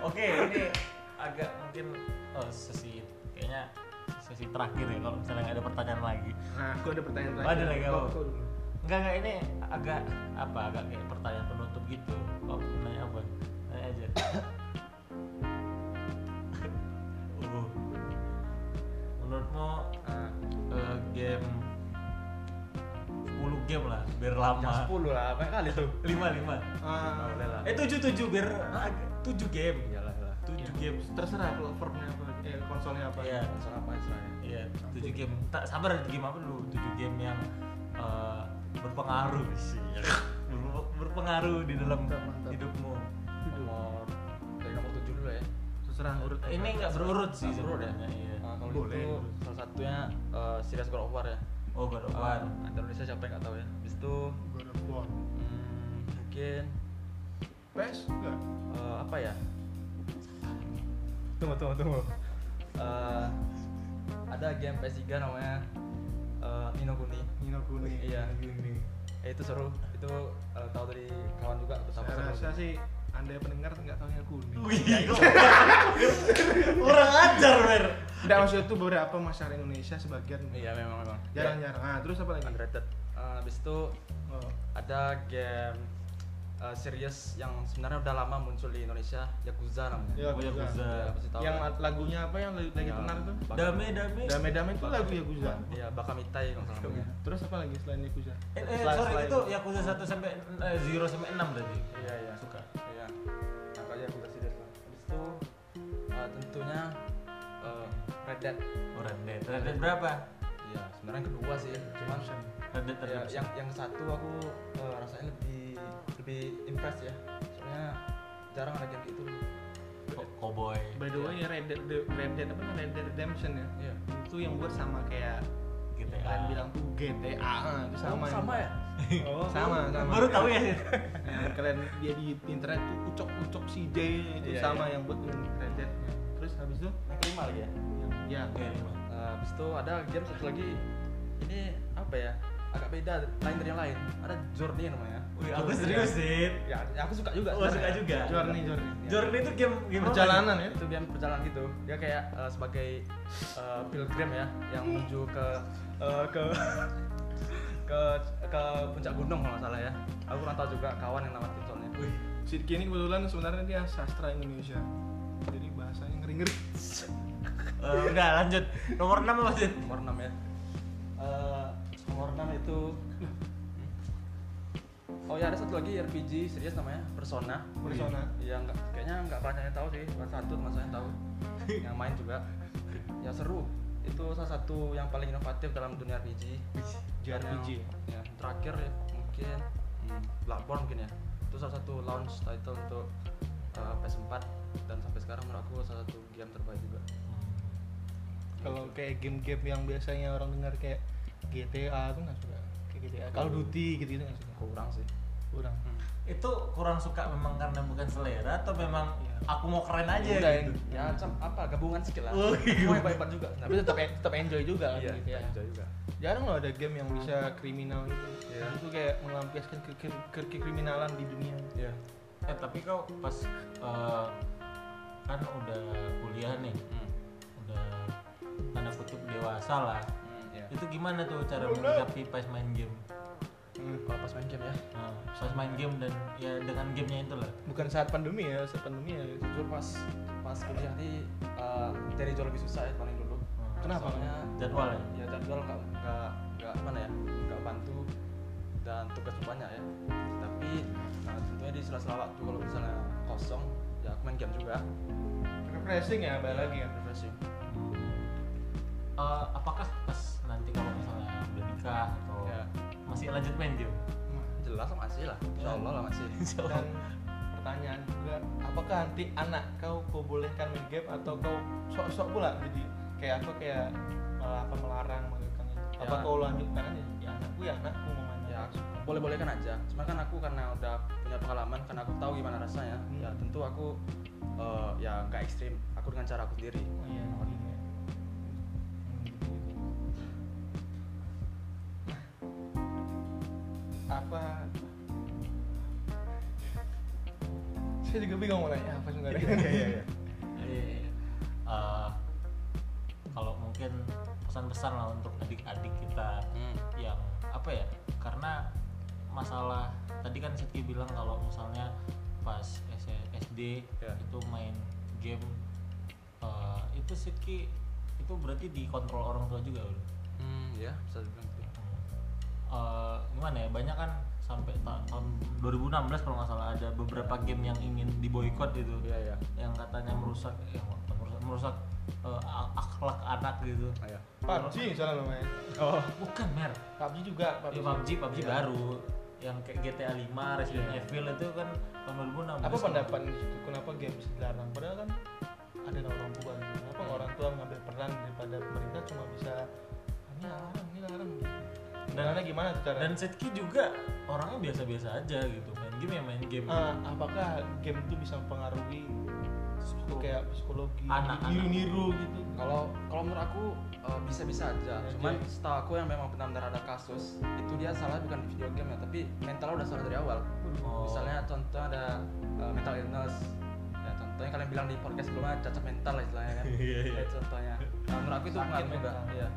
oke ini agak mungkin eh, sesi kayaknya sesi terakhir ya kalau misalnya nggak ada pertanyaan lagi nah aku ada pertanyaan Ada terakhir lagi apa? Kau- kau dulu. Enggak enggak ini agak apa agak kayak pertanyaan penutup gitu. Oh, nanya apa? Nanya aja. Uh. Menurutmu Ah, eh, game 10 game lah biar Jam lama. 10 lah, apa kali tuh? 5 5. ah, Boleh lah. Eh 7 7 biar 7 game. Iyalah, iyalah. 7 Iya. game. terserah platformnya apa eh konsolnya apa Iya. Langsung apa istilahnya? Iya, 7 game. Tak sabar game apa dulu? 7 game yang eh, berpengaruh sih. Iya. Berpe- berpengaruh di dalam Mantap, mantap. hidupmu. Nomor dari nomor 7 dulu ya. terserah urut aja. Ini nggak berurut sih Nggak berurut ya? sebenarnya. Iya. Nah, kalau Boleh. gitu salah satunya eh, series God of War ya. Oh God of Eh, War. ada Indonesia siapa yang nggak tahu ya. Habis itu God of War hmm, mungkin PES enggak eh, apa ya? tunggu tunggu tunggu Eh, ada game PS3 namanya eh, Ni no Kuni. Nino Kuni Iya. Kuni Eh, itu seru. Itu eh, tahu dari kawan juga betapa saya seru. rasa sih anda yang pendengar nggak tahu Nino Kuni Iya, Kurang ajar, Mer. Enggak maksud itu beberapa masyarakat Indonesia sebagian Iya, memang memang. jarang-jarang. Ah, terus apa lagi? Underrated. Eh, habis itu Oh. ada game eh, series yang sebenarnya udah lama muncul di Indonesia Yakuza namanya. Ya, Oh, Yakuza. Yakuza. Ya, pasti tahu. Yang lagunya apa yang lagi Iya. lagi Ya, tenar tuh? Bak- Dame, dame. Dame Dame itu lagu Yakuza. Iya, Bakamitai kalau nggak salah namanya. Terus apa lagi selain Yakuza? Iya. Eh, eh Selain- sorry selain- itu Yakuza 1 sampai eh, 0 sampai 6 tadi. Iya, iya. Suka. Iya. Nah, kalau Yakuza series lah. Habis itu eh, tentunya eh, Red Dead. Oh, Red Dead. Red Dead berapa? Iya, sebenarnya yang kedua sih, cuman Red Dead ya, Redemption. yang yang satu aku eh, rasanya lebih lebih impress ya. Soalnya jarang ada game gitu. Ko- Cowboy. By the way, Red Dead The- Red Dead apa namanya? Red Dead Redemption ya? Iya. Itu yang buat sama kayak yang GTA. kalian bilang tuh GTA ah, itu sama. Oh, sama ya? Oh, sama, sama. Baru tahu ya. Iya. Yang kalian dia di internet tuh ucok-ucok CJ itu Iya, sama iya. yang buat Red Dead. Terus habis itu Yang kelima lagi ya. ya Iya, iya, Bang. Nah, habis itu ada game satu lagi ini apa ya? Agak beda lain dari yang lain. Ada Journey namanya. Wih, aku serius sih. Ya, ya aku suka juga. Oh, suka sebenarnya. juga. Journey Journey. Iya. Journey itu game game apa? Perjalanan ya. Itu game perjalanan gitu. Dia kayak eh, sebagai eh, pilgrim ya yang menuju ke eh, ke ke ke puncak gunung kalau nggak salah ya. Aku kurang tahu juga kawan yang ya. nama soalnya. Wih, Sidki ini kebetulan sebenarnya dia sastra Indonesia. Jadi bahasanya ngeri-ngeri. Oh, iya. eh, udah lanjut. Nomor 6 apa sih? Nomor 6 ya. Eh, nomor 6 itu Oh ya ada satu lagi RPG series namanya Persona. Persona. Iya nggak kayaknya nggak banyak yang tahu sih, cuma satu teman saya yang tahu. yang main juga. Ya seru. Itu salah satu yang paling inovatif dalam dunia RPG. Dan JRPG. Yang, ya, terakhir ya, mungkin hmm, Bloodborne mungkin ya. Itu salah satu launch title untuk eh, PS4 dan sampai sekarang menurut aku salah satu game terbaik juga. Kalau kayak game-game yang biasanya orang dengar kayak GTA tuh nggak suka. Kayak GTA. Call of Duty gitu-gitu nggak suka. Kurang sih. Kurang. itu kurang suka memang karena bukan selera atau memang Iya. aku mau keren aja Udah, gitu. Ya macam apa gabungan skill lah. Oh, Semua hebat-hebat juga. Nah, Tapi tetap tetap enjoy juga kan iya, gitu ya. enjoy juga. Jarang loh ada game yang bisa kriminal gitu. Iya. Itu kayak melampiaskan ke, ke, ke, kekriminalan di dunia. Iya. Eh tapi kau pas eh, kan udah kuliah nih, Hmm. udah tanda kutip dewasa lah. Ya. Hmm, iya. Itu gimana tuh cara menyikapi pas main game? Hmm. Kalau pas main game ya Nah, pas main game dan ya dengan gamenya itu lah bukan saat pandemi ya saat pandemi ya jujur pas pas kuliah di eh, dari jauh lebih susah ya paling dulu Hmm. Kenapa? soalnya Jadwal ya? ya jadwal nggak nggak nggak mana ya nggak bantu dan tugas pun banyak ya tapi nah, tentunya di sela-sela waktu kalau misalnya kosong ya aku main game juga refreshing ya balik lagi ya refreshing Eh, apakah pas nanti kalau misalnya udah nikah atau Ya. masih lanjut main game ya. jelas masih lah insya Allah lah masih Insya Allah. dan pertanyaan juga apakah nanti anak kau kau bolehkan main game atau kau sok-sok pula jadi kayak aku kayak malah apa melarang mengekang itu apa Ya. kau lanjutkan aja ya anakku ya anakku mau main ya ya boleh bolehkan aja cuma kan aku karena udah punya pengalaman karena aku tahu gimana rasanya Hmm. ya tentu aku eh, ya nggak ekstrim aku dengan cara aku sendiri iya iya. Hmm, gitu-gitu. Nah, apa saya juga bingung mau nanya apa sebenarnya Iya, Eh, eh, kalau mungkin pesan besar lah untuk adik-adik kita Hmm. yang apa ya karena masalah tadi kan Setki bilang kalau misalnya pas S- SD Ya. itu main game eh, itu Setki itu berarti dikontrol orang tua juga bro. Hmm, ya bisa dibilang gitu. Eh, gimana ya banyak kan sampai ta- tahun 2016 kalau nggak salah ada beberapa game yang ingin diboykot gitu Iya, iya. yang katanya merusak eh, bukan merusak, merusak eh, a- akhlak anak gitu Ayo. PUBG misalnya namanya Oh. bukan mer PUBG juga Iya, Ya, PUBG PUBG Iya. baru yang kayak GTA 5 Resident Evil itu kan tahun 2016 apa pendapat itu kenapa game bisa dilarang padahal kan ada orang tua gitu. kenapa Hmm. orang tua mengambil peran daripada pemerintah cuma bisa "Ah, ini larang ini larang gitu Caranya gimana tuh cara dan Setki juga orangnya biasa-biasa aja gitu main game ya main game Ah, apakah game itu bisa mempengaruhi Psikologi. kayak psikologi Anak, anak. niru-niru gitu Kalau kalau menurut aku eh, bisa-bisa aja. Oke. Cuman setahu aku yang memang benar-benar ada kasus itu dia salah bukan di video game ya, tapi mentalnya udah salah dari awal. Oh. Misalnya contoh ada eh, mental illness. Ya contohnya kalian bilang di podcast sebelumnya cacat mental lah istilahnya kan. Iya, iya. Ya, contohnya. Nah, menurut aku itu Sakit pengaruh juga. mental. Iya.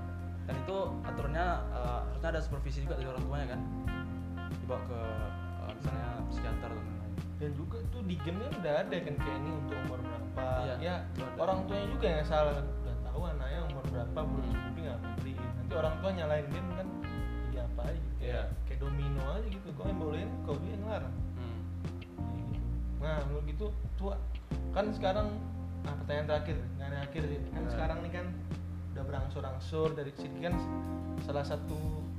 Dan itu aturannya eh, harusnya ada supervisi juga dari orang tuanya kan. Dibawa ke eh, misalnya psikiater atau lain-lain. dan juga tuh di game kan udah ada kan kayak ini untuk umur berapa Iya, ya itu ada. orang tuanya juga yang salah kan udah tahu anaknya umur berapa Hmm. belum cukupi nggak beliin nanti orang tua nyalain game kan jadi apa aja gitu. Iya. kayak domino aja gitu kok yang bolehin kau dia yang larang Hmm. Kayak gitu. nah menurut gitu tua kan sekarang ah pertanyaan terakhir pertanyaan terakhir sih. kan Iya. sekarang nih kan udah berangsur-angsur dari sini kan salah satu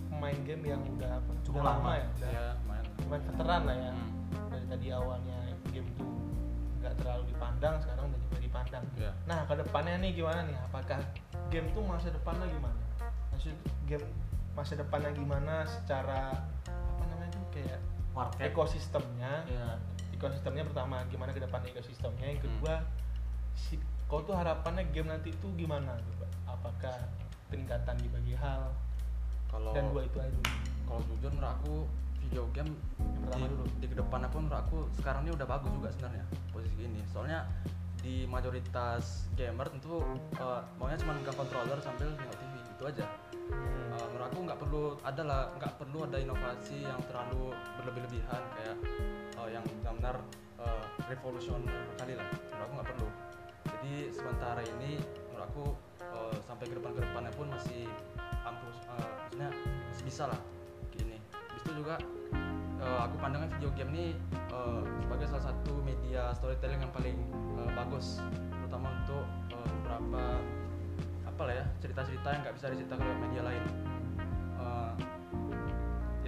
pemain game yang udah apa, Cukup udah lama. ya udah Ya, lumayan. main veteran lah ya Hmm. dari tadi awalnya game tuh nggak terlalu dipandang sekarang udah juga dipandang Iya. nah ke depannya nih gimana nih apakah game tuh masa depannya gimana maksud game masa depannya gimana secara apa namanya tuh kayak market ekosistemnya Iya. ya. ekosistemnya pertama gimana ke depannya ekosistemnya Hmm. yang kedua si kau tuh harapannya game nanti tuh gimana coba apakah peningkatan di bagi hal Kalau dan dua itu aja dulu. kalau jujur menurut aku video game Yang pertama di, dulu. di kedepannya pun menurut aku sekarang ini udah bagus juga sebenarnya posisi ini soalnya di mayoritas gamer tentu eh, maunya cuma megang controller sambil nengok TV gitu aja Hmm. Eh, menurut aku nggak perlu ada lah nggak perlu ada inovasi yang terlalu berlebih-lebihan kayak eh, yang benar-benar eh, revolusioner kali lah menurut aku nggak perlu jadi sementara ini menurut aku eh, sampai ke depan ke depannya pun masih ampuh eh, maksudnya masih bisa lah gini habis itu juga eh, aku pandangnya video game ini eh, sebagai salah satu media storytelling yang paling eh, bagus terutama untuk eh, beberapa apa lah ya cerita-cerita yang nggak bisa diceritakan oleh media lain Eh,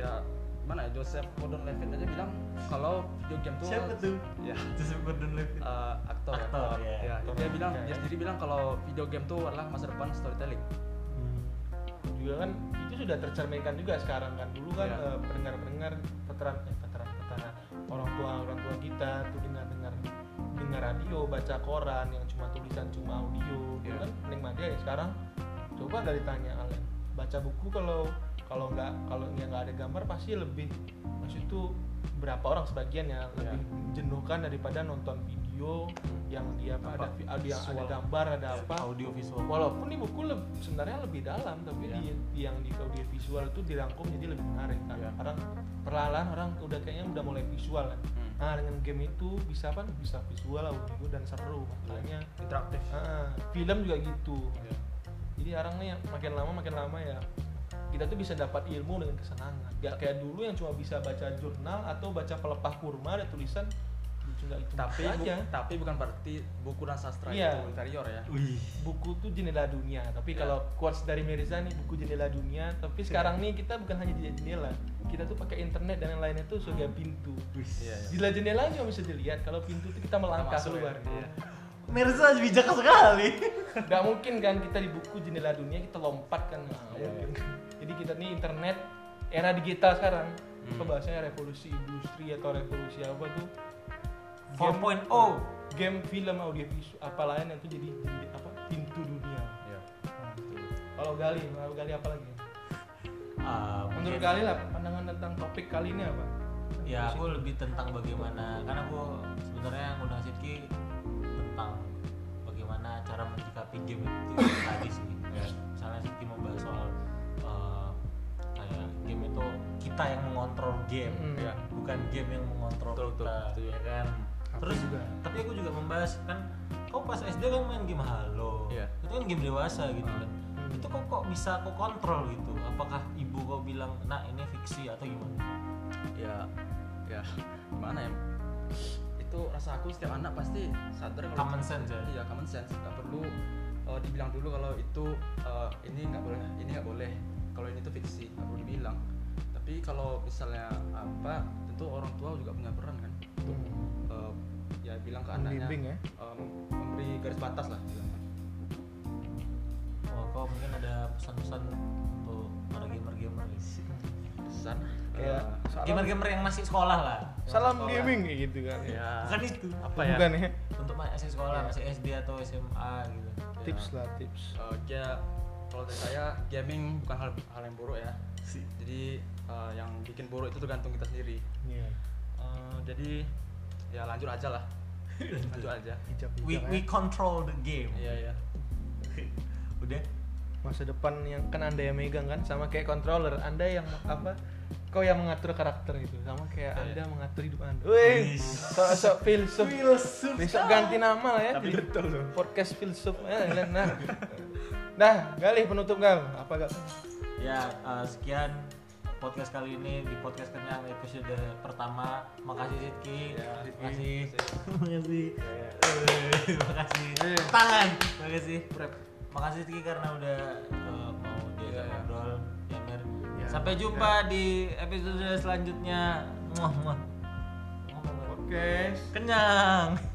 ya mana ya Joseph Gordon-Levitt aja bilang kalau video game tuh siapa tuh ya Joseph Ah. Gordon-Levitt eh, aktor, ya, Aktor, ya. Ya, Aktor dia bilang Amerika, dia ya. sendiri bilang kalau video game tuh adalah masa depan storytelling juga kan itu sudah tercerminkan juga sekarang kan dulu kan Iya. eh, pendengar-pendengar veteran eh veteran veteran orang tua orang tua kita tuh dengar-dengar dengar radio baca koran yang cuma tulisan cuma audio dulu Iya. kan menikmati ya sekarang coba dari tanya Alan baca buku kalau kalau nggak kalau dia nggak ada gambar pasti lebih maksud itu berapa orang sebagian ya lebih jenuhkan daripada nonton video yang dia ada Tampak ada yang ada visual. gambar ada apa audio visual walaupun di buku leb- sebenarnya lebih dalam tapi Iya. di, yang di audio visual itu dirangkum jadi lebih menarik Nah, Iya. sekarang per perlahan orang udah kayaknya udah mulai visual kan Hmm. nah dengan game itu bisa kan bisa visual audio dan seru makanya interaktif ah, film juga gitu Iya. jadi orang nih makin lama makin lama ya kita tuh bisa dapat ilmu dengan kesenangan gak kayak dulu yang cuma bisa baca jurnal atau baca pelepah kurma ada tulisan lucu nggak itu tapi bu- aja tapi bukan berarti buku dan sastra Iya. itu inferior ya Wih. buku tuh jendela dunia tapi Ya. kalau quotes dari Mirza nih buku jendela dunia Iya. tapi sekarang nih kita bukan hanya jadi jendela kita tuh pakai internet dan yang lainnya tuh sebagai pintu Iya, iya. jendela jendela cuma bisa dilihat kalau pintu tuh kita melangkah masuk ya, keluar iya. Mirza bijak sekali. nggak mungkin kan kita di buku jendela dunia kita lompat kan Nggak Iya. mungkin. jadi kita nih internet era digital sekarang Hmm. apa bahasanya revolusi industri atau revolusi apa tuh 4.0. oh. game film audio visual apa lain itu jadi jadi apa pintu dunia Iya. kalau gali kalau gali apa lagi Ah, menurut mungkin- gali lah pandangan tentang topik kali ini apa ya aku lebih tentang bagaimana karena aku sebenarnya ngundang Sidki tentang bagaimana cara menyikapi game itu tadi sih ya, misalnya Sidki membahas soal eh, kayak game itu kita yang mengontrol game Hmm. ya bukan game yang mengontrol Betul, betul, kita betul. ya kan Aku terus juga. tapi aku juga membahas kan kau pas SD kan main game Halo Iya. itu kan game dewasa gitu kan itu kok kok bisa kok kontrol gitu apakah ibu kau bilang nak ini fiksi atau gimana ya ya gimana ya itu rasa aku setiap anak pasti sadar kalau common sense ya iya common sense nggak perlu eh, dibilang dulu kalau itu eh, ini nggak boleh ini nggak boleh kalau ini tuh fiksi nggak perlu dibilang tapi kalau misalnya apa tentu orang tua juga punya peran kan untuk eh, ya bilang ke anaknya Membimbing ya. eh, mem- memberi garis batas lah kan. bilangnya. Wah, kok mungkin ada pesan-pesan untuk para gamer-gamer nih. pesan kayak eh, salam- Gamer-gamer yang masih sekolah lah. salam sekolah. gaming kayak gitu kan ya Bukan itu. apa ya bukan ya Untuk masih sekolah, masih SD atau SMA gitu. Ya, tips lah tips eh, ya, kalau dari saya gaming bukan hal hal yang buruk ya jadi eh, yang bikin buruk itu tergantung kita sendiri Iya. Eh, jadi ya lanjut aja lah lanjut aja Hijab-hijab We ya. we control the game. iya iya Udah. masa depan yang kan anda yang megang kan sama kayak controller anda yang apa kau yang mengatur karakter itu sama kayak anda Iya. mengatur hidup anda wih sok-sok filsuf besok ganti nama lah ya Tapi betul loh. podcast filsuf Eh, nah nah gali penutup gal apa gal Ya, eh, sekian podcast kali ini di podcast kenyang episode pertama. Makasih Sidki. Ya, makasih. Sidki. makasih. Eh, makasih. Tangan. Makasih. Makasih Sidki karena udah eh, mau diajak Ya, ya. ngobrol. Ya, Mer. Ya. Sampai jumpa di episode selanjutnya. Muah, muah. Muah, muah. podcast Kenyang.